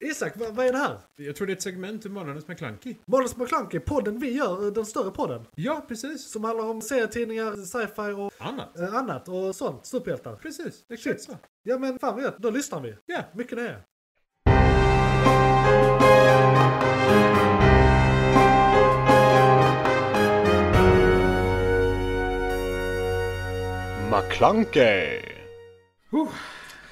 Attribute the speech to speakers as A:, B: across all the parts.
A: Isak, vad, vad är det här?
B: Jag tror det är ett segment ur Månadens McKlunky.
A: Månadens McKlunky, podden vi gör, eh, den större podden.
B: Ja, precis.
A: Som handlar om serietidningar, sci-fi och
B: Annat.
A: eh, annat och sånt. Superhjältar.
B: Precis, exakt så.
A: Ja men fan vad gött, då lyssnar vi.
B: Ja.
A: Mycket nöje.
C: McClunkey!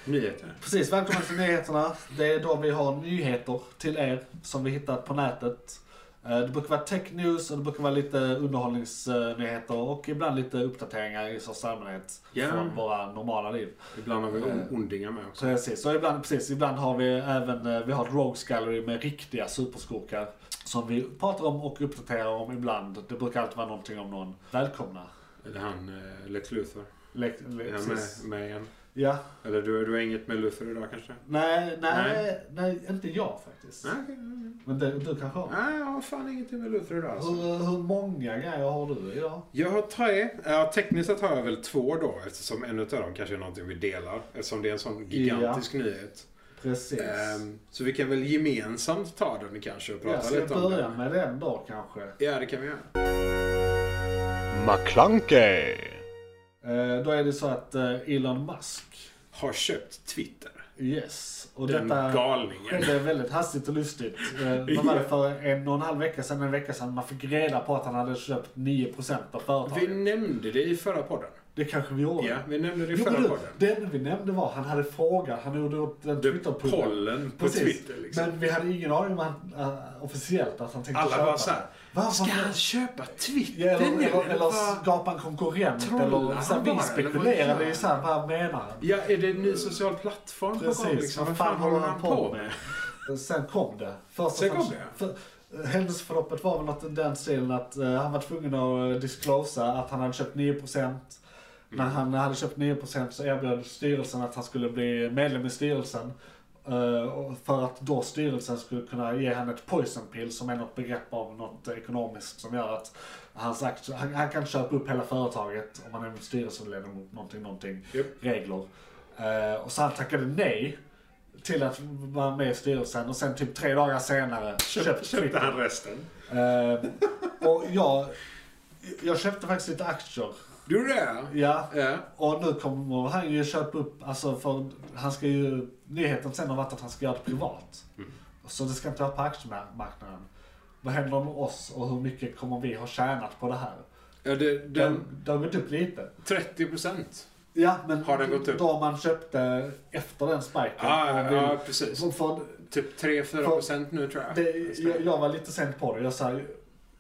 D: Nyheter.
A: Precis, välkomna till nyheterna. Det är då vi har nyheter till er som vi hittat på nätet. Eh, Det brukar vara tech news och det brukar vara lite underhållningsnyheter och ibland lite uppdateringar i största allmänhet
D: Ja.
A: från våra normala liv.
D: Ibland har vi on- ondingar med också.
A: Precis, och ibland, precis, ibland har vi även eh, vi har ett Rogues Gallery med riktiga superskurkar som vi pratar om och uppdaterar om ibland. Det brukar alltid vara någonting om någon välkomna.
D: Eller han eh, Lex Luthor.
A: Le-
D: Är
A: le-
D: han
A: precis.
D: med, med igen?
A: Ja.
D: Eller du, du har inget med Luthor idag kanske?
A: Nej, nej,
D: Nej.
A: nej, inte jag faktiskt.
D: Nej, okej, nej,
A: Men det, du kanske har?
D: Nej, jag har fan ingenting med Luthor idag alltså.
A: Hur, hur många grejer har du idag?
D: Jag har tre. Ja, tekniskt sett har jag väl två då eftersom en av dem kanske är någonting vi delar. Eftersom det är en sån gigantisk nyhet.
A: Precis.
D: Ehm, så vi kan väl gemensamt ta den kanske och
A: jag
D: prata
A: ska
D: lite om
A: börja
D: den.
A: med den då kanske.
D: Ja, det kan vi göra.
C: McClunkey!
A: Eh, då är det så att eh, Elon Musk,
D: Har köpt Twitter.
A: yes. Och
D: Den
A: detta
D: galningen.
A: skedde väldigt hastigt och lustigt. Eh, vad var det för en och en halv vecka sedan, en vecka sedan man fick reda på att han hade köpt 9% av
D: Vi
A: företaget.
D: nämnde det i förra podden.
A: Det kanske vi gjorde.
D: Ja, vi nämnde det i
A: Jo,
D: förra
A: men
D: podden.
A: du, det enda vi nämnde var han hade frågat, han gjorde upp en
D: Du,
A: Twitter-pull.
D: pollen på
A: Precis.
D: Twitter liksom.
A: Men vi hade ingen aning om han, eh, officiellt att han tänkte
D: Alla
A: köpa.
D: bara såhär,
A: Varför-
D: ska han köpa Twitter
A: Ja, eller,
D: nu?
A: eller, eller
D: Vad-
A: skapa en konkurrent.
D: Trollar
A: Eller,
D: han
A: så här,
D: bara,
A: vi
D: eller vad
A: spekulerade
D: gör
A: i så här, vad menar han?
D: Ja, är det en ny social plattform på gång?
A: Precis,
D: Liksom? Vad fan håller han på med?
A: Eh, Sen kom det. Först och
D: Sen kom
A: främst-
D: det?
A: För, eh, händelseförloppet var väl något i den stilen att eh, han var tvungen att eh, disclosa att han hade köpt 9%. När
D: Mm.
A: han hade köpt 9% så erbjöd styrelsen att han skulle bli medlem i styrelsen. eh, och För att då styrelsen skulle kunna ge han ett poison pill som är något begrepp av något ekonomiskt som gör att hans aktier, han, han kan köpa upp hela företaget om han är styrelseledamot någonting, någonting,
D: Japp.
A: regler. Eh, och så han tackade nej till att vara med i styrelsen och sen typ tre dagar senare köpte
D: Köpte
A: Twitter.
D: han resten?
A: Eh, och jag, jag köpte faktiskt lite aktier.
D: Du det?
A: Ja.
D: Ja.
A: Och nu kommer han ju köpa upp, alltså för han ska ju, nyheten sen har varit att han ska göra det privat.
D: Mm.
A: Så det ska inte vara på aktiemarknaden. Vad händer med oss och hur mycket kommer vi ha tjänat på det här?
D: ja det,
A: Den,
D: den,
A: det har gått upp lite.
D: 30 procent.
A: Ja, men
D: Har den gått upp? Ah,
A: då man köpte efter den spiken.
D: Ja,
A: och
D: ja,
A: vill-
D: ja, precis.
A: för- för
D: Typ 3-4 procent nu tror jag.
A: det, jag, jag var lite sent på det. Jag, så här,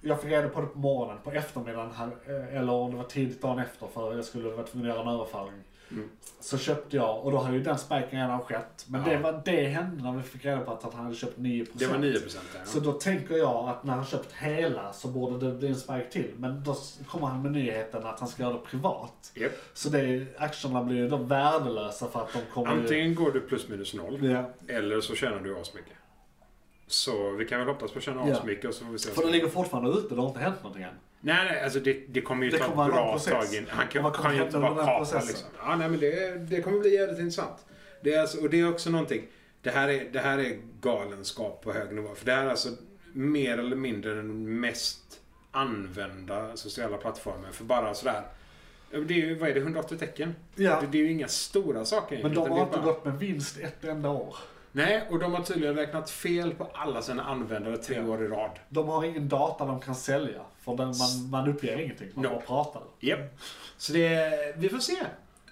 A: jag fick reda på det på morgonen, på eftermiddagen, här, eh, eller om det var tidigt dagen efter för jag skulle vara tvungen att göra en överföring.
D: Mm.
A: Så köpte jag, och då hade ju den spiken redan skett. Men
D: Ja.
A: det, var, det hände när vi fick reda på att han hade köpt 9%.
D: Det var 9 procent
A: Så då tänker jag att när han köpt hela så borde det bli en spike till. Men då s- kommer han med nyheten att han ska göra det privat.
D: Japp.
A: Så det, aktierna blir ju då värdelösa för att de kommer ju...
D: Antingen går du plus minus noll.
A: Ja.
D: Eller så tjänar du asmycket. Så vi kan väl hoppas på att tjäna
A: Ja.
D: asmycket och så får vi se.
A: För den ligger fortfarande ute, det har inte hänt någonting än.
D: Nej, nej, alltså det, det kommer ju
A: Det
D: ta
A: kommer
D: ett
A: vara en
D: bra
A: process.
D: tag in. Han kan,
A: Och vad kommer
D: kan ju inte
A: hända under
D: bara
A: den
D: kapa
A: processen?
D: liksom. Ja, nej, men det, det kommer bli jävligt intressant. Det är alltså, och det är också någonting. Det här är, det här är galenskap på hög nivå. För det här är alltså mer eller mindre den mest använda sociala plattformen. För bara sådär. ja, men Det är ju, vad är det, 180 tecken?
A: Ja.
D: Det, det är ju inga stora saker
A: Men de har
D: egentligen, det är
A: inte
D: bara-
A: gått med vinst ett enda år.
D: Nej, och de har tydligen räknat fel på alla sina användare tre år i rad.
A: De har ingen data de kan sälja. För den, man, man uppger ingenting, man
D: No.
A: bara pratar.
D: Japp. Så det, vi får se.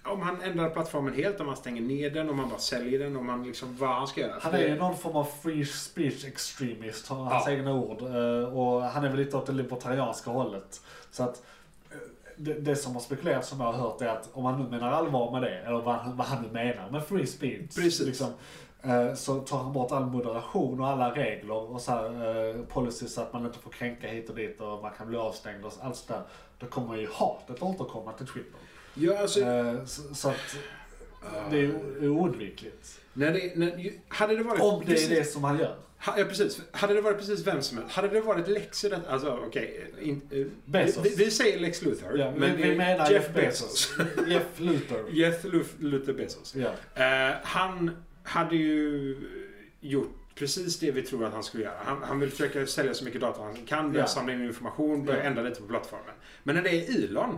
D: Om han ändrar plattformen helt, om han stänger ner den, om han bara säljer den, om han liksom vad han ska göra.
A: Han är ju någon form av free speech extremist, har hans
D: Ja.
A: egna ord. Eh, Och han är väl lite åt det libertarianska hållet. Så att eh, det, det som har spekulerats, som jag har hört, är att om han nu menar allvar med det, eller vad han, vad han nu menar med free speech.
D: Precis.
A: Liksom, eh, så tar han bort all moderation och alla regler och så här, eh, policies så att man inte får kränka hit och dit och man kan bli avstängd och allt sådär. Då kommer ju hatet återkomma till Twitter.
D: Ja, alltså,
A: Eh, Så, så att det är ju oundvikligt.
D: när det, när, ju- hade det varit...
A: Om det
D: precis,
A: är det som han gör.
D: ha, ja, precis. Hade det varit precis vem som helst. Hade det varit Lex i detta... Alltså, okej. in- eh, vi,
A: Bezos.
D: vi- vi säger Lex Luthor.
A: Ja,
D: men
A: vi,
D: det är
A: vi menar
D: Jeff Bezos.
A: Jeff Luthor.
D: Jeff Luf- Luthor Bezos.
A: Ja.
D: Eh, han hade ju gjort precis det vi tror att han skulle göra. Han, han vill försöka sälja så mycket data han kan, börja
A: Ja.
D: samla in information, börja
A: Ja.
D: ändra lite på plattformen. Men när det är Elon,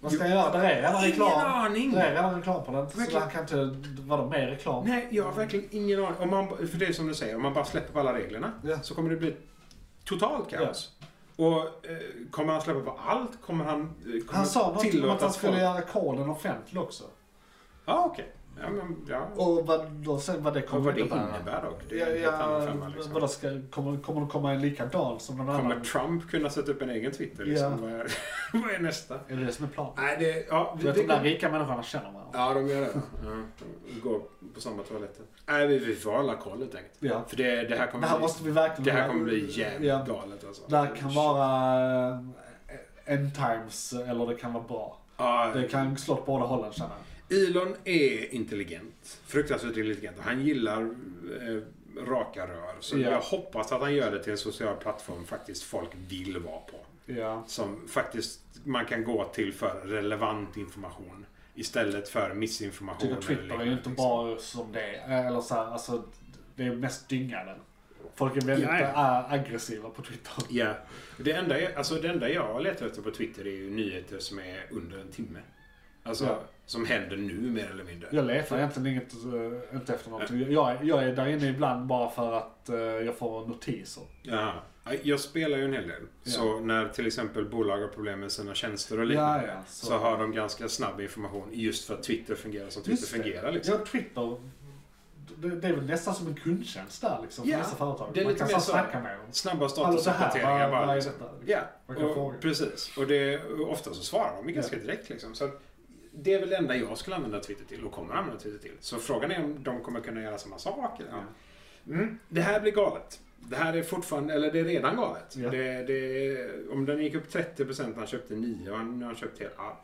A: Vad ska jag göra? Där är redan
D: ingen
A: reklam.
D: aning!
A: Det är redan reklam på den. Så
D: Verkligen.
A: han kan inte vara mer reklam.
D: Nej, jag har verkligen ingen aning. Om man, för det är som du säger, om man bara släpper på alla reglerna
A: Ja.
D: så kommer det bli totalt kaos. Och eh, kommer han släppa på allt? Kommer han, eh, kommer
A: Han sa något om
D: tillåta
A: att han skulle
D: folk-
A: göra koden offentlig också.
D: Mm. Ja, okej. Ja, men ja.
A: Och vad, då, sen vad det
D: Och
A: kommer
D: vad
A: att
D: det
A: innebära.
D: innebär dock. Det
A: Ja,
D: är en helt annan
A: ja,
D: femma, liksom.
A: vadå, ska, kommer, kommer det komma en likadan som någon
D: Kommer
A: annan?
D: Trump kunna sätta upp en egen Twitter? Liksom? Vad, är, vad är nästa?
A: Är det det som är planen?
D: Nej, det... Ja,
A: Du vet de där rika människorna känner varandra.
D: ja de gör det. Ja. de Går på samma toaletter. Nej, vi, vi får hålla koll helt enkelt.
A: Ja.
D: För det, det här
A: Det
D: kommer
A: här
D: bli,
A: måste vi verkligen...
D: det här kommer bli jävligt
A: Ja.
D: galet alltså.
A: Det här kan vara eh, end times eller det kan vara bra.
D: Ja,
A: Det kan slå åt båda hållen känner jag.
D: Elon är intelligent. Fruktansvärt intelligent. Han gillar eh, raka rör. Så
A: Ja.
D: jag hoppas att han gör det till en social plattform faktiskt folk vill vara på.
A: Ja.
D: Som faktiskt man kan gå till för relevant information. Istället för
A: Jag
D: missinformation.
A: tycker Twitter är ju
D: liksom.
A: inte bara som det är. Eller så här, alltså, det är mest dyngade. Folk är väldigt
D: Ja, ja.
A: eh, aggressiva på Twitter.
D: Ja. Det enda, jag, alltså det enda jag letar efter på Twitter är ju nyheter som är under en timme. Alltså,
A: Ja.
D: som händer nu mer eller mindre.
A: Jag letar egentligen inget, eh, inte efter någonting. Jag, jag är där inne ibland bara för att eh, jag får notiser.
D: Ja. Jag spelar ju en hel del.
A: Ja.
D: Så när till exempel bolag har problem med sina tjänster och liknande.
A: Ja, ja,
D: så.
A: så-
D: har de ganska snabb information just för att Twitter fungerar som Twitter
A: Just det.
D: fungerar. Liksom.
A: Ja, Twitter. Det, det är väl nästan som en kundtjänst där liksom.
D: Ja,
A: för vissa företag.
D: det är
A: Man
D: lite
A: kan
D: mer
A: så här
D: så.
A: snacka med dem.
D: Snabba
A: Alltså, det här,
D: statusuppdateringar
A: vad- vad
D: bara.
A: är
D: Liksom.
A: detta, liksom?
D: Ja,
A: Man kan
D: och,
A: fråga.
D: precis. Och det, och ofta så svarar de ju ganska
A: Ja.
D: direkt. Liksom. Så att det är väl det enda jag skulle använda Twitter till och kommer använda Twitter till. Så frågan är om de kommer kunna göra samma sak. Eller? Mm. Det här blir galet. Det här är fortfarande, eller det är redan galet.
A: Ja.
D: Det, det, om den gick upp 30% när han köpte 9 och nu har han köpt hela. Ja.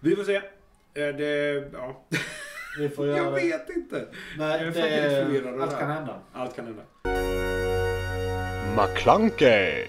D: Vi får se. Eh, Det, ja.
A: Vi får göra
D: Jag
A: det.
D: vet inte. jag är
A: Nej,
D: faktiskt
A: det,
D: förvirrad av det
A: allt
D: här.
A: kan hända.
D: Allt kan hända.
C: McClunkey.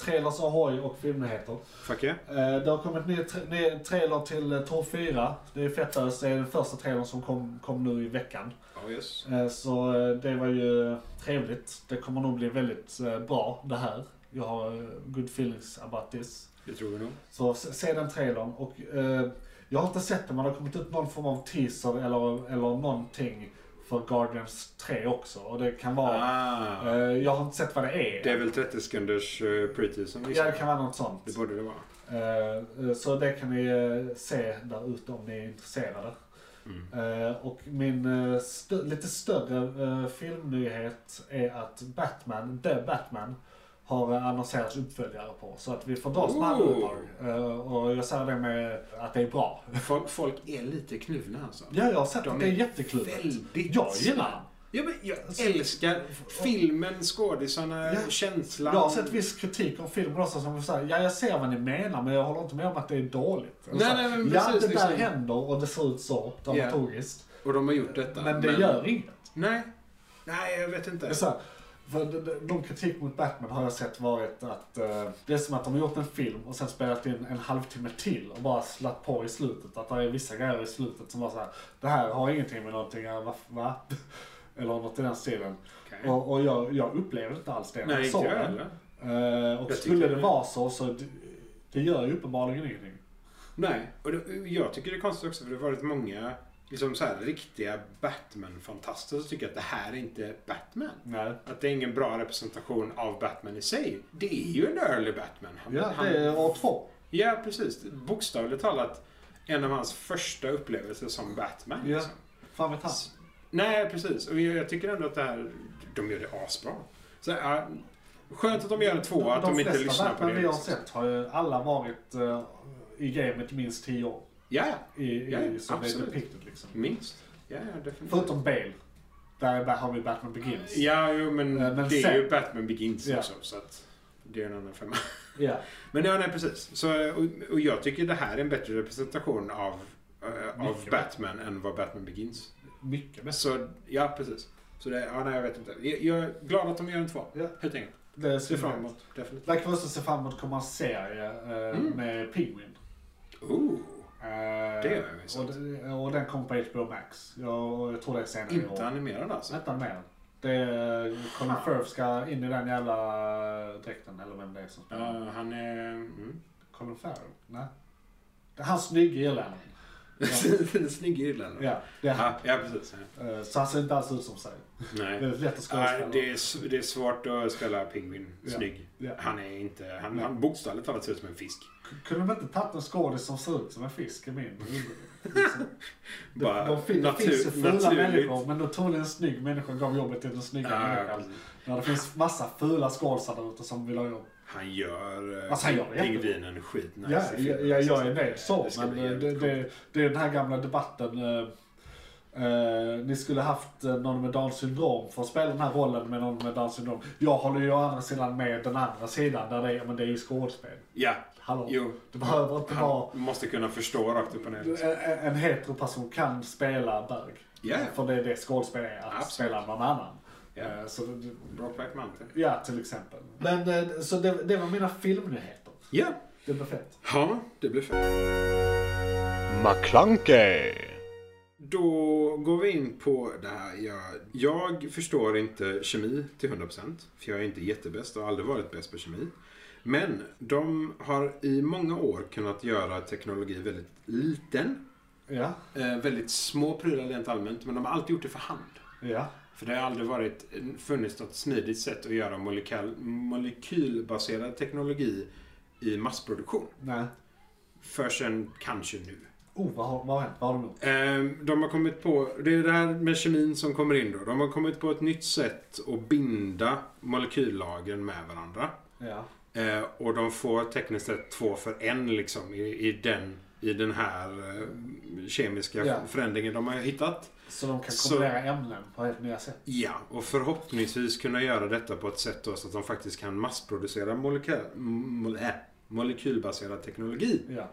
A: Trailers ahoy och filmnyheter.
D: Fuck yeah.
A: Eh, Det har kommit ny, tra- ny trailer till eh, Tor 4. Det är fettös. Det är den första trailern som kom, kom nu i veckan.
D: Ja, yes.
A: Eh, Så eh, det var ju trevligt. Det kommer nog bli väldigt eh, bra det här. Jag har eh, good feelings about this.
D: Det tror vi nog.
A: Så se se den trailern. Och, eh, jag har inte sett den men det har kommit ut någon form av teaser eller, eller någonting för Guardians 3 också. Och det kan vara...
D: Ah.
A: eh, jag har inte sett vad det är.
D: Det är väl 30 sekunders uh, preteason
A: ja,
D: gissar
A: det
D: jag.
A: kan vara något sånt.
D: Det borde det vara.
A: Eh, eh, Så det kan ni eh, se där ute om ni är intresserade.
D: Mm.
A: Eh, Och min eh, stö- lite större eh, filmnyhet är att Batman, The Batman, har eh, annonserats uppföljare på. Så att vi får dras med alla
D: Ooh.
A: uppdrag. Eh, Och jag säger det med att det är bra.
D: Folk, folk är lite knuvna alltså.
A: Ja, jag har sett
D: De
A: att det är
D: är
A: jätteklurigt.
D: väldigt
A: Jag gillar den.
D: Ja, men jag älskar filmen, skådisarna,
A: Ja.
D: känslan.
A: Jag har sett viss kritik om filmen också som säger ja jag ser vad ni menar men jag håller inte med om att det är dåligt. Eller
D: Nej,
A: så här,
D: nej, men
A: ja
D: precis,
A: det där
D: liksom.
A: händer och det ser ut så dramaturgiskt.
D: Och de har gjort detta.
A: Men det gör inget.
D: Nej. Nej, jag vet
A: Det är
D: inte.
A: så här, för de- de- de kritik mot Batman har jag sett varit att eh, det är som att de har gjort en film och sen spelat in en halvtimme till och bara slatt på i slutet. Att det är vissa grejer i slutet som var så här, det här har ingenting med någonting att va? va? Eller något i den stilen.
D: Okej.
A: Och, och jag, jag upplevde inte alls det när
D: Nej,
A: jag
D: inte
A: såg
D: jag
A: den.
D: heller.
A: Eh, och
D: Jag
A: skulle
D: tycker
A: det
D: det.
A: vara så, så det, det gör ju uppenbarligen ingenting.
D: Nej, och det, jag tycker det är konstigt också för det har varit många liksom så här, riktiga Batman-fantaster som tycker att det här är inte Batman.
A: Nej.
D: Att det är ingen bra representation av Batman i sig. Det är ju en early Batman. Han,
A: Ja,
D: han-
A: det är år två.
D: Ja, precis. Bokstavligt talat en av hans första upplevelser som Batman.
A: Ja.
D: Liksom.
A: Fan vet han.
D: Nej, precis. Och jag, jag tycker ändå att det här... De gör det asbra. Så, ja, skönt att de gör en tvåa, att de, inte
A: flesta
D: lyssnar på
A: Batman
D: det.
A: vi har
D: liksom.
A: sett har ju alla varit eh, i gamet i minst 10 år.
D: Ja, ja.
A: I, i,
D: Ja, ja,
A: som det är
D: absolut.
A: depicted liksom.
D: Minst. Ja, ja, definitivt.
A: Förutom Bale. Där är- har vi Batman Begins.
D: Ja, jo, men,
A: Eh, men
D: det är
A: sen-
D: ju Batman Begins
A: Ja.
D: också. Så att det är en annan femma.
A: Ja.
D: Men ja, nej, precis. Så, och, och jag tycker det här är en bättre representation av, eh, av
A: Mycket.
D: Batman än vad Batman Begins.
A: Mycket bättre.
D: Så, ja, precis. Så det, ja, nej, jag vet inte. Jag, jag är glad att de gör en två.
A: Ja.
D: Helt enkelt.
A: Det är
D: Ser fram
A: framåt.
D: emot, definitivt.
A: Där kan vi också se fram emot kommer en serie eh,
D: Mm.
A: med Penguin.
D: Ooh.
A: Eh,
D: Det gör vi, sant.
A: och, det- och den kommer på HBO Max. Jag, jag tror det är senare i
D: Inte
A: år.
D: animerad alltså?
A: Inte mer. Det är Colin Firth ska in i den jävla dräkten, eller vem det är som spelar.
D: Ja, han är... Mm.
A: Colin Farrell? Nej. Det är han snygge irlänningen.
D: Snygg irländare.
A: Ja, det är han.
D: Ja, ja, precis. Ja.
A: Eh, Så han ser inte alls ut som sig.
D: Nej.
A: Väldigt lätt att
D: Ja,
A: skådespela.
D: det, är, s- det är svårt att spela pingvin snygg.
A: Ja.
D: Han är inte... Han, han bokstavligt talat ser ut som en fisk.
A: Kunde de inte tagit en skådis som ser ut som en fisk i min
D: Bara
A: De fin- det
D: natur-
A: finns ju fula
D: naturligt.
A: människor, men då tog en snygg människa gav jobbet till den snygga
D: Ja,
A: människan.
D: precis.
A: När det finns massa fula skådisar där ute som vill ha jobb.
D: han gör eh,
A: Alltså, han gör det
D: pingvinen skitnice.
A: Ja,
D: i
A: jag,
D: filmen. alltså.
A: jag, jag är med så,
D: Det ska
A: men
D: bli
A: det,
D: jävligt
A: det,
D: coolt.
A: det, är den här gamla debatten. eh, eh, ni skulle haft eh, någon med Downs syndrom för att spela den här rollen med någon med Downs syndrom. Jag håller ju å andra sidan med den andra sidan där det är, men det är ju skådespel.
D: Ja,
A: Hallå?
D: jo.
A: Det behöver inte vara...
D: Han måste kunna förstå rakt upp och ner. liksom.
A: En, en heteroperson kan spela bög.
D: Ja, ja.
A: För det är det skådespel är, att
D: Absolut.
A: spela någon annan.
D: Ja.
A: Eh, Så, det-
D: Brokeback Mountain.
A: ja, till exempel. Men, eh, så det, det var mina filmnyheter.
D: Ja.
A: Det blev fett.
D: Ja, det blir fett.
C: McClunkey.
D: Då går vi in på det här. Jag, jag förstår inte kemi till 100%. För jag är inte jättebäst och har aldrig varit bäst på kemi. Men de har i många år kunnat göra teknologi väldigt liten.
A: Ja,
D: Eh, väldigt små prylar rent allmänt. Men de har alltid gjort det för hand.
A: ja,
D: För det har aldrig varit, funnits något smidigt sätt att göra molekyl, molekylbaserad teknologi i massproduktion.
A: nej.
D: Förrän kanske nu.
A: Oh, vad har, vad har hänt? Vad har de gjort?
D: Ehm, De har kommit på, det är det här med kemin som kommer in då. De har kommit på ett nytt sätt att binda molekyllagren med varandra.
A: Ja.
D: Eh, Och de får tekniskt sett två för en liksom i, i, den, i den här eh, kemiska
A: Ja.
D: förändringen de har hittat.
A: Så de kan
D: Så-
A: kombinera ämnen på helt nya sätt.
D: Ja, och förhoppningsvis kunna göra detta på ett sätt då så att de faktiskt kan massproducera molekyl, mol, äh, molekylbaserad teknologi.
A: Ja.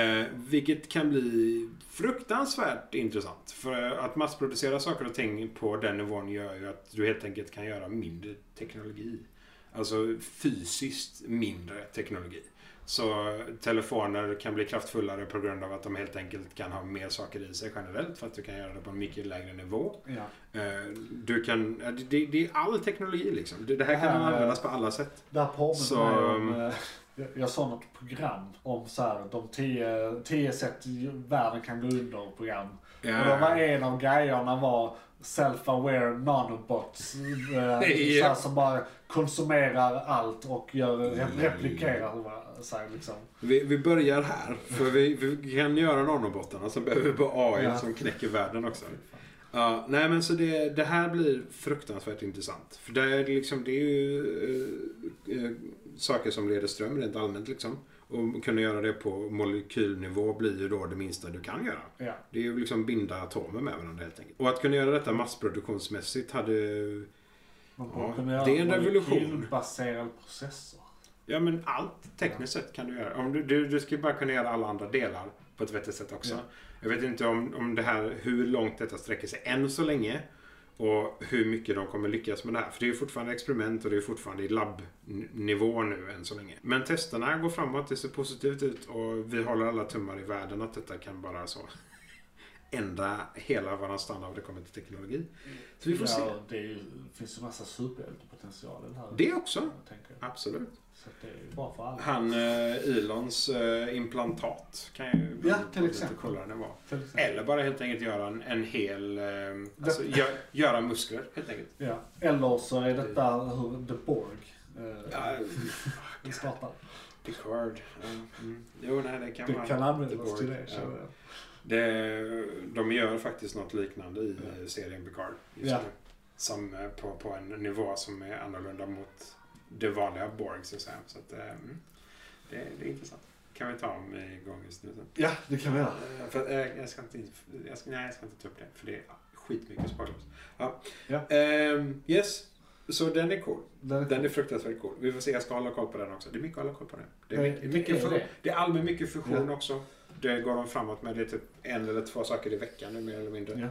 D: Eh, vilket kan bli fruktansvärt intressant. För eh, att massproducera saker och ting på den nivån gör ju att du helt enkelt kan göra mindre teknologi. Alltså fysiskt mindre teknologi. Så eh, telefoner kan bli kraftfullare på grund av att de helt enkelt kan ha mer saker i sig generellt för att du kan göra det på en mycket lägre nivå.
A: ja.
D: Eh, Du kan, ja, det, det, det är all teknologi liksom. Det, det här
A: Det
D: kan
A: här-
D: användas på alla sätt.
A: Det här påminner
D: Så,
A: mig om...
D: ehm,
A: eh, jag- Jag såg något program om så här, de tio, tio sätt världen kan gå under program. Och då var en av grejerna var self-aware nanobots. eh,
D: Ja.
A: så här, som bara konsumerar allt och gör,
D: Mm.
A: replikerar sig liksom.
D: Vi, vi börjar här, för vi, vi kan göra nanobotarna, sen behöver vi bara AI
A: Ja.
D: som knäcker världen också. Ja, nej men så det, det här blir fruktansvärt intressant. För det är, liksom, det är ju eh, eh, saker som leder ström rent allmänt liksom. Och kunna göra det på molekylnivå blir ju då det minsta du kan göra.
A: Ja.
D: Det är ju liksom binda atomer med varandra helt enkelt. Och att kunna göra detta massproduktionsmässigt hade
A: Man
D: Ja,
A: kunde göra
D: det är en revolution.
A: molekylbaserad processor.
D: Ja, men allt tekniskt sett kan du göra. Om du, du, du ska bara kunna göra alla andra delar på ett vettigt sätt också.
A: Ja.
D: Jag vet inte om, om det här, hur långt detta sträcker sig än så länge. Och hur mycket de kommer lyckas med det här. För det är ju fortfarande experiment och det är fortfarande i labbnivå nu än så länge. Men testerna går framåt, det ser positivt ut och vi håller alla tummar i världen att detta kan bara så ändra hela vår standard när det kommer till teknologi. Så vi får se.
A: ja, det är ju- finns ju massa superhjältepotential i den här.
D: Det också.
A: tänker jag.
D: Absolut.
A: Så att det är ju bra för alla.
D: Han eh, Elons eh, implantat kan ju
A: Ja, till
D: lite
A: exempel.
D: coolare än det var.
A: Till exempel.
D: Eller bara helt enkelt göra en, en hel... Eh, alltså, gö- göra muskler helt enkelt.
A: Ja. Eller så är detta hur The Borg
D: Ja,
A: eh, startar.
D: Picard. Ja, mm. Jo, nej, det kan
A: Det
D: vara
A: kan
D: The
A: användas
D: Borg.
A: till det
D: Ja.
A: känner jag.
D: Det, de gör faktiskt något liknande i eh, serien Picard just
A: Ja.
D: nu. Som eh, på, på en nivå som är annorlunda mot det vanliga Borg så att säga. Så att, eh, mm. det, det är intressant. Kan vi ta om igång just nu sen.
A: Ja, det kan vi göra.
D: Eh, För, eh, jag, ska inte, jag, ska, nej, jag ska inte ta upp det, för det är skitmycket spoilers. Ja.
A: Ja.
D: Ehm, yes, så den är cool.
A: Den,
D: Den är fruktansvärt cool. Vi får se, jag ska hålla koll på den också. Det är mycket att hålla koll på nu. Det är,
A: Nej,
D: mycket,
A: det
D: mycket
A: är
D: fusion-
A: det.
D: det är allmänt mycket fusion
A: Ja.
D: också. Det går de framåt med. Det är typ en eller två saker i veckan nu mer eller mindre.
A: ja.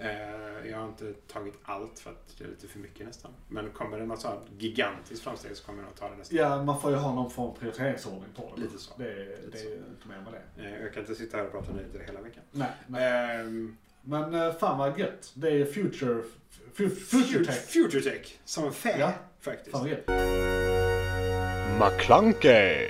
D: Eh, jag har inte tagit allt för att det är lite för mycket nästan. Men kommer det något sånt gigantiskt framsteg så kommer jag nog ta det nästan.
A: ja, man får ju ha någon form av prioriteringsordning på det.
D: Lite så.
A: Det, det
D: så.
A: är inte mer med det.
D: Eh, jag kan inte sitta här och prata nyheter hela veckan.
A: Nej, nej.
D: Ehm,
A: Men eh, fan vad gött. Det är Future... Future, future
D: Future,
A: Tech.
D: future Tech. Som fä,
A: Ja.
D: faktiskt.
A: Fan vad gött.
C: McClunkey,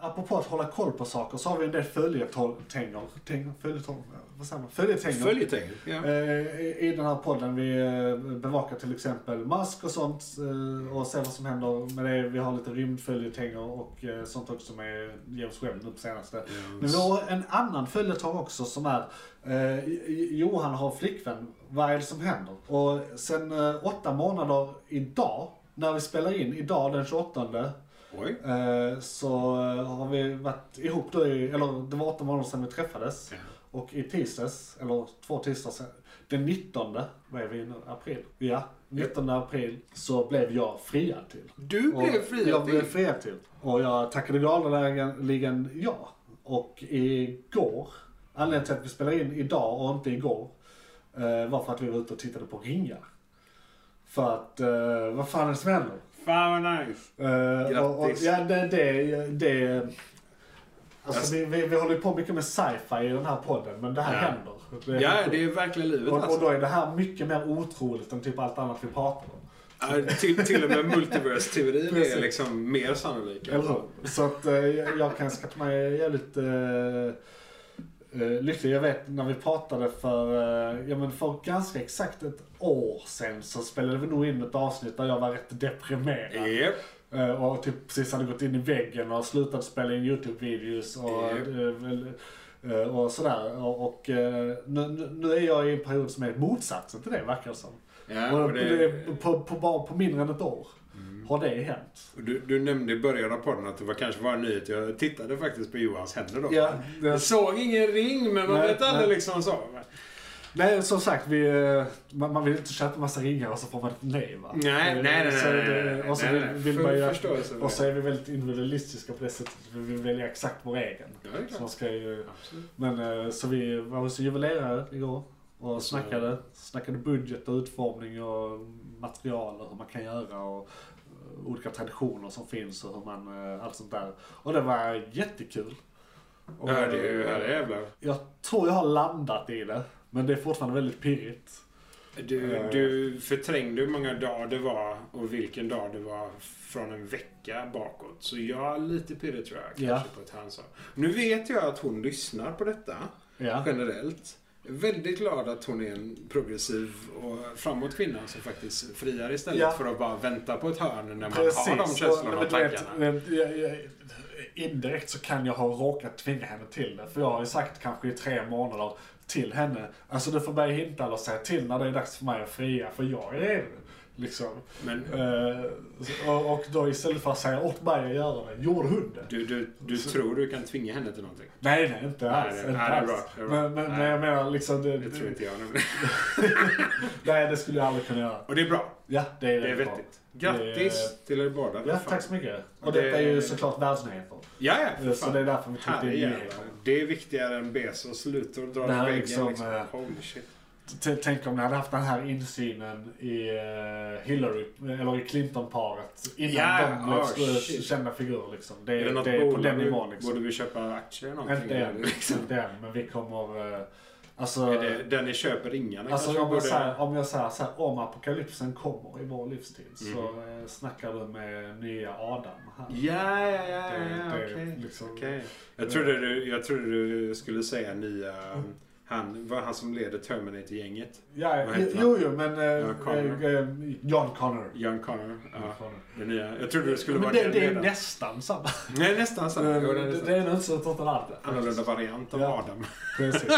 A: Apropå att hålla koll på saker så har vi en del följetänger. Tänger? Följetänger? Vad säger man? Följetänger.
D: Följetänk. Ja.
A: Eh, i- I den här podden vi eh, bevakar till exempel mask och sånt eh, och ser vad som händer med det. Vi har lite rymdföljetänger och eh, sånt också med James Webb nu på
D: Mm.
A: senaste. Men vi har en annan följetong också som är eh, J- J- Johan har flickvän, vad är det som händer? Och sen eh, åtta månader idag, när vi spelar in idag den 28
D: Oj.
A: Eh, så eh, har vi varit ihop då i, eller det var åtta månader sedan vi träffades.
D: Ja.
A: Och i tisdags, eller två tisdagar sedan, den 19, vad är vi nu, april? Ja, 19 april så blev jag friad till.
D: Du
A: Och
D: blev friad
A: Jag blev
D: till.
A: friad till. Och jag tackade gladeligen ja. Och igår, anledningen till att vi spelar in idag och inte igår, eh, var för att vi var ute och tittade på ringar. För att, eh, vad fan är det som händer?
D: Fan vad nice.
A: Eh, och, och,
D: Grattis.
A: ja, det, det, det,
D: Alltså-
A: alltså, vi, vi, vi håller ju på mycket med sci-fi i den här podden, men det här
D: Ja.
A: händer. Det,
D: Ja, det är verkligen livet
A: och, och
D: alltså.
A: då är det här mycket mer otroligt än typ allt annat vi pratar om.
D: Ja, till, till och med multiverse-teorin är
A: Precis.
D: liksom mer sannolik.
A: Eller hur? Så att eh, jag, jag kan skatta mig jävligt eh, eh, lycklig. Jag vet när vi pratade för, eh, ja men för ganska exakt ett år sedan så spelade vi nog in ett avsnitt där jag var rätt deprimerad.
D: Japp.
A: Eh, Och typ precis hade gått in i väggen och slutat spela in YouTube-videos och,
D: Japp.
A: eh, väl, eh, och sådär. Och, och eh, nu, nu- nu är jag i en period som är motsatsen till det verkar det som.
D: Ja,
A: och
D: och
A: det,
D: det, Mm.
A: på, på, bara på mindre än ett år har det hänt.
D: du, du nämnde i början av podden att det var kanske var en nyhet. Jag tittade faktiskt på Johans händer då.
A: Ja, det,
D: Jag såg ingen ring, men man
A: Nej,
D: vet aldrig
A: nej.
D: liksom så.
A: nej, som sagt, vi, eh, man, man vill inte köpa massa ringar och så får man ett nej va?
D: Nej,
A: Eh,
D: nej, nej,
A: så
D: nej,
A: det-
D: nej,
A: Och så
D: nej,
A: vill,
D: nej.
A: vill
D: Full
A: man ju,
D: förståelse för
A: och
D: det.
A: så är vi väldigt individualistiska på det sättet. att Vi vill välja exakt vår egen.
D: Ja, det är
A: Så man
D: klart.
A: ska ju
D: Absolut.
A: Men eh, så vi var hos en juvelerare igår och
D: så-
A: snackade, snackade budget och utformning och material och hur man kan göra och eh, olika traditioner som finns och hur man, eh, allt sånt där. Och det var jättekul. Och, eh,
D: Ja, det är ju herrejävlar.
A: Jag tror jag har landat i det, men det är fortfarande väldigt pirrigt.
D: Du,
A: Eh.
D: du förträngde hur många dagar det var och vilken dag det var från en vecka bakåt. Så jag är lite pirrig tror jag. Kanske
A: Ja.
D: på ett handslag. Nu vet jag att hon lyssnar på detta
A: Ja.
D: generellt. Jag är Väldigt glad att hon är en progressiv och framåt kvinna som faktiskt friar istället
A: Ja.
D: för att bara vänta på ett hörn när man
A: Precis.
D: har de känslorna
A: Och-
D: och
A: men du vet,
D: tankarna.
A: eh, jag- jag- Indirekt så kan jag ha råkat tvinga henne till det. För jag har ju sagt kanske i tre månader till henne. Alltså du får börja hinta eller säga till när det är dags för mig att fria. För jag är redo. Liksom.
D: Men
A: Eh, och, och då istället för att säga åt mig att göra det, gjorde hon det.
D: du, du, du tror du kan tvinga henne till någonting?
A: Nej, nej, inte
D: Nej,
A: alls.
D: nej,
A: inte
D: nej, det är
A: alls.
D: bra, det är bra.
A: Men, men, men
D: Nej.
A: jag menar liksom, det,
D: Det tror inte jag.
A: nej det skulle jag aldrig kunna göra.
D: Och det är bra.
A: Ja, det är,
D: Det är
A: väldigt bra.
D: vettigt. Grattis till er båda.
A: Ja,
D: Fan.
A: tack så mycket. Och
D: Det-
A: detta är ju såklart världsnyheter.
D: Ja, ja. för
A: Så
D: fan.
A: det är därför vi tyckte det är
D: Herrejävlar.
A: nyheter.
D: Det är viktigare än Bezos slutar och drar
A: Det här
D: i
A: är
D: väggen. Liksom,
A: liksom, eh,
D: Holy shit.
A: T- Tänk om ni hade haft den här insynen i eh, Hillary, eller i Clinton-paret innan
D: Ja,
A: de blev
D: oh,
A: st-
D: shit.
A: kända figurer. Liksom. Det,
D: Är det
A: är
D: något
A: det är på
D: bolag
A: den
D: nu?
A: nivån. Liksom.
D: Borde vi köpa aktier eller någonting?
A: Inte än,
D: Eller liksom?
A: inte än, men vi kommer... eh, Alltså,
D: Är det den ni köper ringarna
A: alltså
D: kanske
A: om, jag
D: borde...
A: säger, om jag säger så här, om apokalypsen kommer i vår livstid så eh, snackar du med nya Adam här.
D: Mm. Ja, ja, ja,
A: Det-
D: ja,
A: det är
D: okej.
A: liksom-
D: okej. Jag, trodde du, jag trodde du skulle säga nya... um, Han, var han som leder Terminator-gänget.
A: Ja,
D: Vad
A: jo,
D: heter han?
A: jo, jo, men... eh,
D: Ja, Connor.
A: eh, eh, John Connor.
D: John Connor. Ja,
A: Connor.
D: den nya. Jag trodde det skulle
A: Mm. Men
D: vara
A: det,
D: den
A: det är
D: redan.
A: nästan samma.
D: Nej, nästan så.
A: det,
D: Jo, det är
A: det,
D: nästan.
A: är nog inte så totalt andra.
D: Annorlunda variant av
A: Ja.
D: Adam.
A: Precis.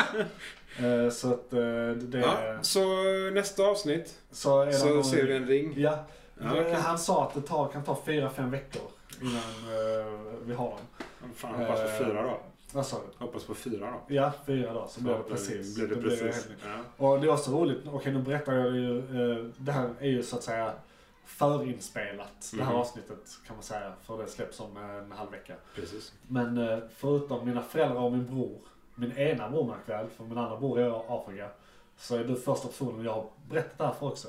A: Eh, så att eh, det...
D: Ja, så nästa avsnitt
A: Så, är det
D: så
A: någon-
D: ser vi en ring.
A: Ja.
D: Ja, okej.
A: Han sa att det tar, kan ta fyra fem veckor innan eh, vi har dem.
D: Fan, hoppas på
A: Eh,
D: fyra då.
A: Vad sa du?
D: Hoppas på fyra då.
A: Ja, fyra dagar så blir det
D: då
A: precis.
D: Blir det
A: Då
D: precis.
A: helt-
D: ja.
A: Och det är också roligt, okej nu berättar jag ju, eh, det här är ju så att säga förinspelat, det här
D: Mhm.
A: avsnittet kan man säga, för det släpps om en halv vecka.
D: precis.
A: Men eh, förutom mina föräldrar och min bror, min ena bror märk väl, för min andra bror är i Afrika, så är du första personen jag har berättat det här för också.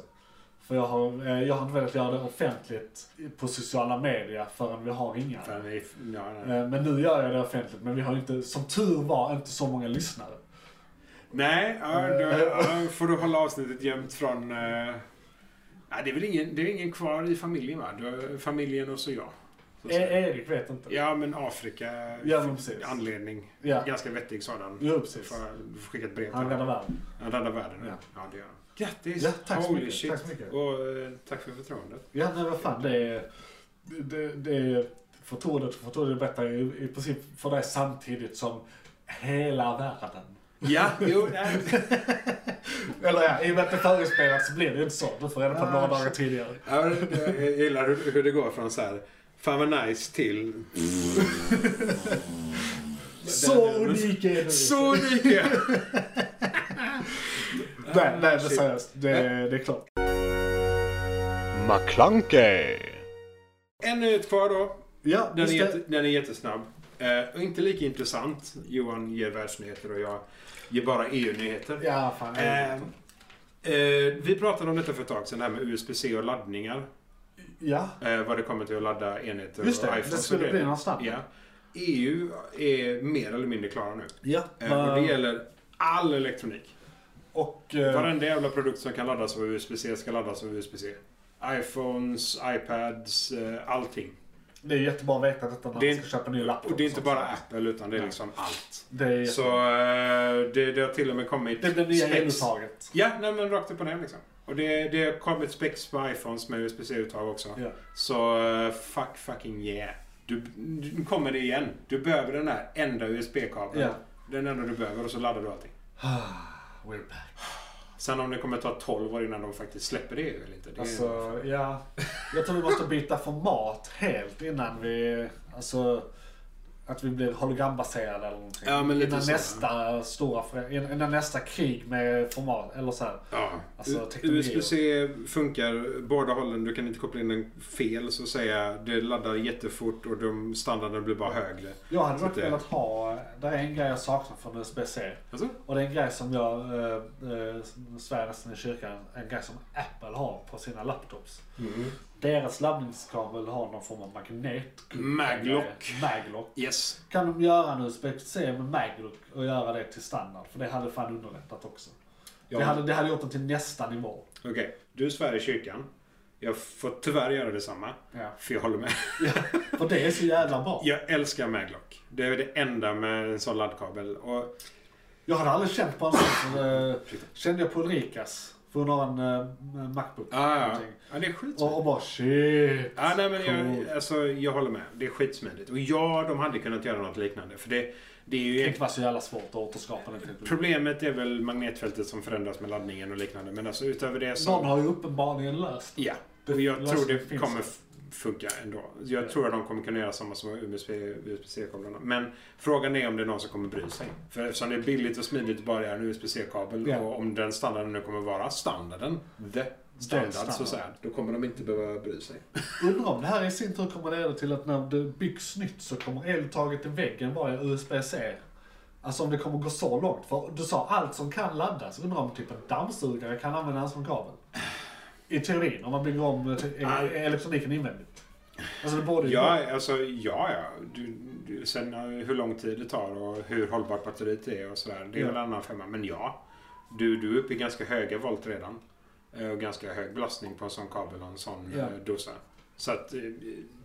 A: För jag har, eh, jag har inte velat göra det offentligt på sociala medier förrän vi har Eh, inga.
D: Fan, vi- ja, nej.
A: Eh, Men nu gör jag det offentligt, men vi har inte, som tur var, inte så många lyssnare.
D: Nej, ja, då, ja, får du hålla avsnittet gömt från... eh, ja, det, är väl ingen, det är ingen kvar i familjen va? Du, har familjen och så jag. Så att
A: E-
D: säga.
A: Erik vet inte.
D: Ja, men Afrika.
A: Ja, men precis.
D: Anledning.
A: Ja.
D: Ganska vettig sådan.
A: Jo,
D: Du
A: precis.
D: får, du får skicka ett brev till
A: Han räddar
D: honom.
A: världen.
D: Han räddar världen.
A: Ja.
D: Ja. ja, det gör han. Grattis!
A: Ja, tack så
D: Holy
A: mycket,
D: shit.
A: tack så mycket.
D: Och eh, tack för förtroendet.
A: Ja, nej vad fan det är... Det, det är förtroendet och förtroendet berättar ju i princip för dig samtidigt som hela världen.
D: Ja, jo, nej.
A: Eller ja, i och med att det förespelat så blir det ju inte så. Du får reda på det
D: Ah,
A: några dagar tidigare.
D: Ja, men eh, Jag gillar hur, hur det går från så här, fan vad nice till...
A: Så unik är du.
D: Så lika!
A: Nej, nej men
D: Ah, Shit.
A: seriöst. Det, det är klart.
C: McClunkey!
D: En minut kvar då.
A: Ja,
D: Den är,
A: just
D: jätte,
A: det.
D: den är jättesnabb. Eh, och inte lika intressant. Johan ger världsnyheter och jag ger bara EU-nyheter.
A: Ja, fan.
D: Eh, eh, vi pratade om detta för ett tag sedan, det här med USB-C och laddningar.
A: ja,
D: Eh, vad det kommer till att ladda enheter
A: just
D: och
A: det.
D: iPhones
A: Det
D: och
A: skulle bli
D: grejer.
A: någon snabb.
D: Ja. EU är mer eller mindre klara nu.
A: Ja,
D: Eh, och det
A: men-
D: gäller all elektronik.
A: och... eh,
D: Varenda jävla produkt som kan laddas av USB-C ska laddas av USB-C. iPhones, iPads, eh, allting.
A: Det är jättebra att veta detta när
D: Det är
A: man ska köpa en ny laptop.
D: Och det är inte
A: och
D: bara
A: sånt.
D: Apple utan det är liksom allt.
A: Det, är,
D: Så eh, det, det har till och med kommit
A: det blir nya
D: specs.
A: eluttaget.
D: Ja, nej, men rakt upp och ner liksom. Och det, det har kommit specs på iPhones med USB-C-uttag också.
A: Ja.
D: Så eh, fuck fucking yeah. Du, nu kommer det igen. Du behöver den här enda USB-kabeln.
A: Ja.
D: Den enda du behöver och så laddar du allting.
A: We're back.
D: Sen om det kommer ta 12 år innan de faktiskt släpper det eller inte. Det är
A: Alltså, ja. Jag tror vi måste byta format helt innan vi... Alltså, att vi blir hologrambaserade eller någonting.
D: Ja, men lite
A: innan,
D: så.
A: nästa stora, förä- innan innan nästa krig med format. Eller så här.
D: Ja.
A: Alltså,
D: U-
A: teknologi och-
D: USB-C funkar båda hållen. Du kan inte koppla in den fel så att säga. Det laddar jättefort och de standarden blir bara högre.
A: Jag hade
D: Så
A: dock
D: det-
A: velat ha... Det är en grej jag saknar från USB-C.
D: Alltså?
A: Och det är en grej som jag eh, eh, svär nästan i kyrkan. En grej som Apple har på sina laptops.
D: Mm.
A: Deras laddningskabel har någon form av magnet.
D: Maglock.
A: Maglock.
D: Yes.
A: Kan de göra en USB-C med Maglock och göra det till standard? För det hade fan underlättat också.
D: Ja.
A: Det, hade, det hade gjort den till nästa nivå.
D: Okej, du svär i kyrkan. Jag får tyvärr göra detsamma.
A: Ja.
D: För jag håller med.
A: För det är så jävla bra.
D: Jag älskar Maglock. Det är det enda med en sån laddkabel. Och
A: Jag hade aldrig känt på en sån. så, eh, kände jag på Ulrikas. För hon har en eh, Macbook.
D: Ah, ja.
A: någonting.
D: ja, det är skitsmidigt.
A: Och, och bara shit.
D: Ja, nej, men
A: Cool.
D: jag, alltså, jag håller med. Det är skitsmidigt. Och ja, de hade kunnat göra något liknande. För det, det
A: Det kan
D: är ju egentligen
A: inte vara så jävla svårt att återskapa den typen.
D: Problemet är väl magnetfältet som förändras med laddningen och liknande. Men alltså utöver det så...
A: Någon har ju uppenbarligen löst det.
D: Ja.
A: Det-
D: Och jag tror det
A: finns
D: kommer
A: det.
D: f- funka ändå. Jag
A: Ja.
D: tror att de kommer kunna göra samma som USB, USB-C-kablarna. Men frågan är om det är någon som kommer bry sig. För eftersom det är billigt och smidigt att bara göra en USB-C-kabel
A: Ja.
D: och om den standarden nu kommer vara standarden, the standard, så
A: standard.
D: att säga, då kommer de inte behöva bry sig.
A: Undrar om det här i sin tur kommer leda till att när det byggs nytt så kommer eluttaget i väggen vara i USB-C. Alltså om det kommer gå så långt. För du sa allt som kan laddas. Undrar om typ en dammsugare kan användas som kabel. I teorin, om man bygger om eh, te-
D: Ah.
A: eh, elektroniken invändigt. Alltså det borde ju gå.
D: Ja, alltså, ja, ja. Du, du, sen eh, hur lång tid det tar och hur hållbart batteriet är och sådär. Det är
A: Ja.
D: väl en annan femma. Men ja, du, du är uppe i ganska höga volt redan. Eh, Och ganska hög belastning på en sån kabel och en sån
A: Ja.
D: ja. dosa. Så att eh,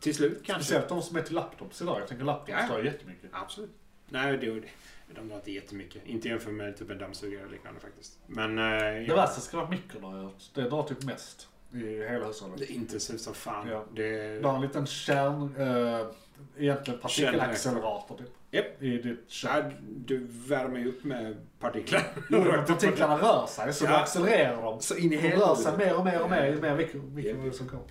D: till slut kanske.
A: Speciellt de som är till laptops idag. Jag tänker laptops
D: Ja.
A: tar ju jättemycket.
D: Absolut. Nej, det, det- de drar inte jättemycket. Inte jämfört med typ en dammsugare eller liknande faktiskt. Men eh,
A: Det
D: ja,
A: värsta ska vara mikron har jag hört. Det drar typ mest i hela hushållet.
D: det är intensivt som fan.
A: Ja.
D: Det,
A: Du har en liten kärn, äh, egentligen partikelaccelerator typ.
D: Japp.
A: I ditt kärn.
D: Ja, du värmer ju upp med partiklar.
A: Jo, men
D: Rakt upp och ner.
A: partiklarna rör sig så
D: Mm. Ja.
A: du accelererar dem.
D: Så in
A: De
D: i
A: rör
D: helvete.
A: sig mer och mer och mer ju mer mikro- mikrovågor som kommer.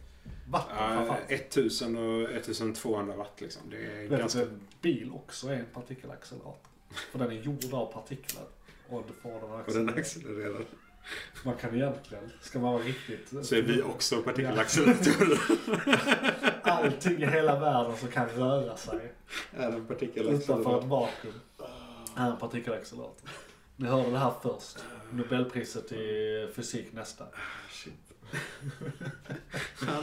A: Vatten
D: Ja,
A: framförallt.
D: 1000 och 1200 watt liksom. Det är
A: Vet du
D: ganska...
A: att en bil också är en partikelaccelerator? För den är gjord av partiklar. Och du får den att
D: Och den
A: accelerera.
D: accelererar.
A: Man kan egentligen, ska man vara riktigt...
D: Så är vi också partikelacceleratorer.
A: Allting i hela världen som kan röra sig
D: är en
A: utanför ett
D: partikelaccelerator.
A: vakuum är en partikelaccelerator. Ni hörde det här först. Nobelpriset i fysik nästa.
D: Ah, Ja,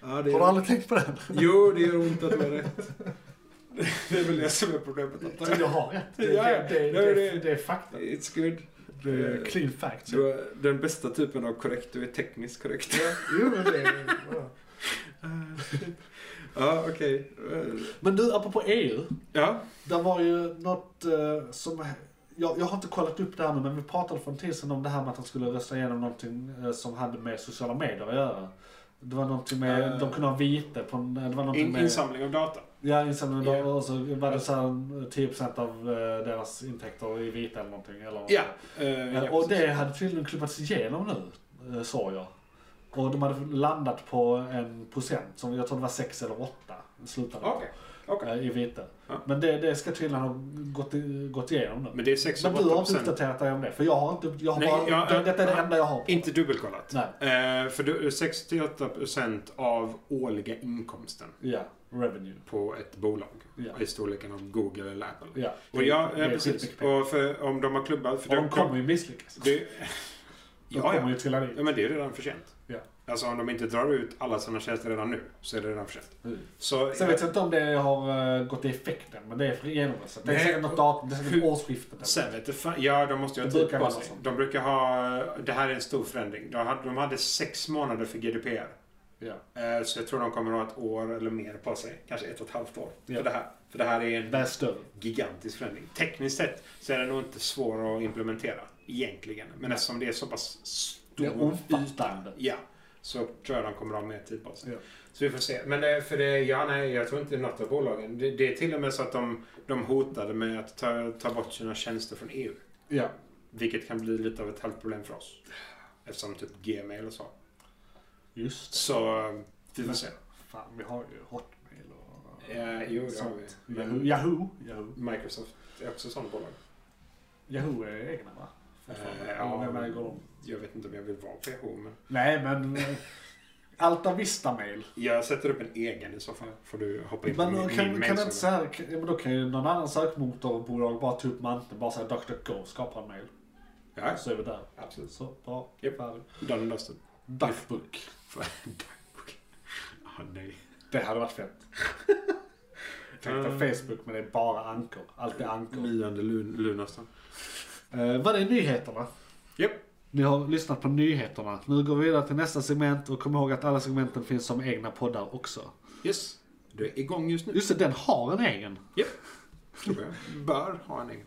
D: det
A: Har du
D: gör...
A: aldrig tänkt på den?
D: Jo, det gör ont att du har rätt. Det är väl det som är problemet. antar jag.
A: Jag har rätt. Det,
D: Ja, ja.
A: det, det, det,
D: Nej, det-
A: det är fakta.
D: It's good.
A: Det är clean typ. facts.
D: Du har- Den bästa typen av korrekt, du är tekniskt korrekt.
A: Jo, men det är bra.
D: Ah, ja, okej.
A: Men du, apropå EU.
D: Ja,
A: Det var ju något eh, som... Jag, jag har inte kollat upp det här nu, men vi pratade för en tid sedan om det här med att de skulle rösta igenom någonting eh, som hade med sociala medier att göra. Det var någonting med,
D: Eh.
A: de kunde ha vite på en, eh, det var någonting
D: in,
A: med...
D: insamling av data.
A: Ja, insamling
D: Ja.
A: och så var det så här 10% av eh, deras intäkter i vita eller någonting. Eller
D: Ja. eh,
A: Eh,
D: ja,
A: Och det hade tydligen klubbats igenom nu, eh, sa jag. Och de hade landat på en procent, som jag tror det var 6 eller 8 slutade
D: Okej. okej.
A: eh, i vite.
D: Ja.
A: Men det, det ska tydligen ha gått, i- gått igenom nu.
D: Men det är 6
A: Men du har
D: 8
A: inte
D: procent.
A: uppdaterat dig om det? För jag har inte, jag har
D: Nej,
A: bara,
D: jag-
A: det, detta är det
D: jag-
A: enda jag har. på.
D: Inte dubbelkollat.
A: Nej.
D: Eh, för du- 68 procent av årliga inkomsten
A: Ja, revenue.
D: på ett bolag.
A: Ja.
D: I storleken av Google eller Apple.
A: Ja,
D: Och ja,
A: Det
D: eh,
A: är
D: precis.
A: skitmycket pengar.
D: Och för, om de har klubbat... För
A: Och de kommer ju misslyckas.
D: Det,
A: De
D: ja,
A: kommer
D: ja.
A: ju trilla dit.
D: ja, men det är redan för sent.
A: Ja.
D: Alltså om de inte drar ut alla sina tjänster redan nu så är det redan för sent.
A: Mm.
D: Så,
A: Sen vet jag inte om det har eh, gått i effekten, men det är genomröstat. Det är
D: Nej.
A: säkert något datum, det är säkert årsskiftet. eller-
D: Sen vet du fan, ja de måste ju ha
A: Det
D: tid
A: brukar
D: på
A: vara
D: sig.
A: så.
D: De brukar ha, det här är en stor förändring. De hade, de hade sex månader för GDPR.
A: Ja.
D: Eh, Så jag tror de kommer att ha ett år eller mer på sig. Kanske ett och ett halvt år.
A: Ja.
D: För, det här. för det här är en
A: Det är större.
D: gigantisk förändring. Tekniskt sett så är den nog inte svår att implementera. Egentligen. Men eftersom det är så pass
A: Det
D: stor
A: är omfattande.
D: Ja, så tror jag de kommer att ha mer tid på sig.
A: Ja.
D: Så vi får se. Men eh, för det, ja nej, jag tror inte något av bolagen. Det, det är till och med så att de, de hotade med att ta, ta bort sina tjänster från EU.
A: Ja.
D: Vilket kan bli lite av ett halvt problem för oss. Eftersom typ Gmail och så.
A: Just
D: Så eh, vi får se.
A: Fan, vi har ju Hotmail och...
D: Eh, jo, det har vi.
A: sånt. Yahoo.
D: Men
A: Yahoo. Yahoo.
D: Microsoft är också ett sånt bolag.
A: Yahoo är egna va? Fortfarande.
D: Eh,
A: Eller
D: ja.
A: vem äger dem?
D: Jag vet inte om jag vill vara PH, men
A: Nej men... eh, Alta Vista Mail.
D: jag sätter upp en egen i så fall. Får du hoppa in på
A: Men
D: min,
A: då kan,
D: min
A: kan
D: mail-
A: inte så här, kan, ja, men då kan ju någon annan sökmotorbolag bara ta upp manteln, bara säga DuckDuckGo, skapa en mail.
D: Ja,
A: Så är vi där.
D: absolut.
A: Så, bra.
D: Japp.
A: Färdig.
D: Done and dusted.
A: Duckbook.
D: Ah, nej.
A: Det hade varit fett. Tänkte
D: Eh.
A: Facebook men det är bara ankor. Allt är ankor.
D: Myande lun, Lunarsson.
A: Eh, vad är nyheterna?
D: Japp.
A: Ni har lyssnat på nyheterna. Nu går vi vidare till nästa segment och kom ihåg att alla segmenten finns som egna poddar också.
D: Yes. Du är igång just nu.
A: Just det, den har en egen.
D: Tror jag. Bör ha en egen.